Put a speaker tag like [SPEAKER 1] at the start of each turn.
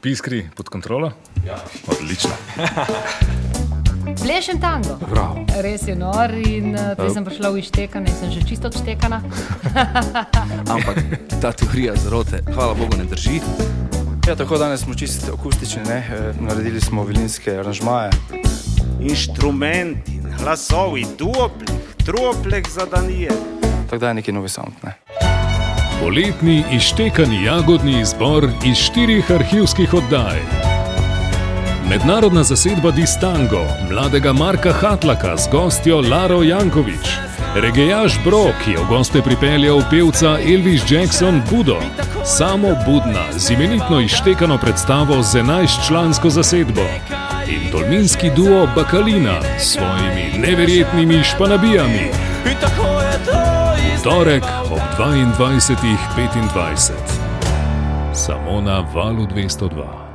[SPEAKER 1] Piskri pod kontrolo? Ja. Odlično.
[SPEAKER 2] Plešem tango.
[SPEAKER 1] Bravo.
[SPEAKER 2] Res je nor in eh, prej sem prišla v ištekane in sem že čisto odštekana.
[SPEAKER 3] ampak ta teorija zarote, hvala Bogu, ne drži.
[SPEAKER 4] Ja, tako danes smo čisto akustični, ne? E, naredili smo vilinske aranžmaje.
[SPEAKER 5] inštrumenti, glasovi, duoplih, troplih zadanije.
[SPEAKER 4] Tako da je neki novi sound. Ne?
[SPEAKER 1] Poletni iztekani jagodni izbor iz štirih arhivskih oddaj. Mednarodna zasedba Distango, mladega Marka Hatlaka z gostjo Laro Jankovič, regejaš Bro, ki je v goste pripeljal pevca Elvis Jackson Budo, samo Budna z imenitno iztekano predstavo z 11-člansko zasedbo in tolminski duo Bakalina s svojimi neverjetnimi španabijami. V torek ob 22.25, samo na valu 202.